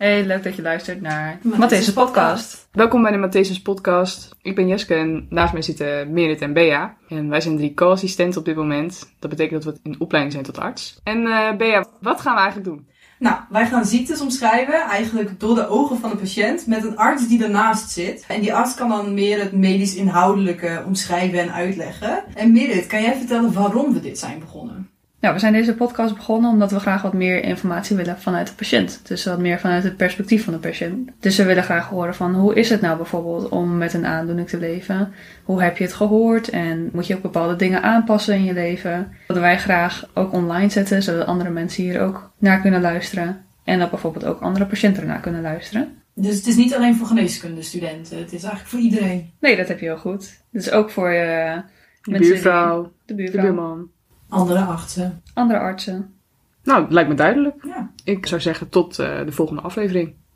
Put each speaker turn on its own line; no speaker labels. Hey, leuk dat je luistert naar Matthäus' podcast.
Welkom bij de Matthäus Podcast. Ik ben Jeske en naast mij zitten Merit en Bea. En wij zijn drie co-assistenten op dit moment. Dat betekent dat we in opleiding zijn tot arts. En eh, Bea, wat gaan we eigenlijk doen?
Nou, wij gaan ziektes omschrijven, eigenlijk door de ogen van de patiënt, met een arts die ernaast zit. En die arts kan dan meer het medisch inhoudelijke omschrijven en uitleggen. En Merit, kan jij vertellen waarom we dit zijn begonnen?
Nou, we zijn deze podcast begonnen omdat we graag wat meer informatie willen vanuit de patiënt. Dus wat meer vanuit het perspectief van de patiënt. Dus we willen graag horen van hoe is het nou bijvoorbeeld om met een aandoening te leven? Hoe heb je het gehoord? En moet je ook bepaalde dingen aanpassen in je leven? Dat willen wij graag ook online zetten, zodat andere mensen hier ook naar kunnen luisteren. En dat bijvoorbeeld ook andere patiënten ernaar kunnen luisteren.
Dus het is niet alleen voor geneeskundestudenten, het is eigenlijk voor iedereen.
Nee, dat heb je heel goed. Dus ook voor eh,
De
mensen die-
buurvrouw,
de
de
buurvrouw,
buurman.
Andere artsen.
andere artsen.
Nou, het lijkt me duidelijk.
Ja.
Ik zou zeggen tot eh, de volgende aflevering.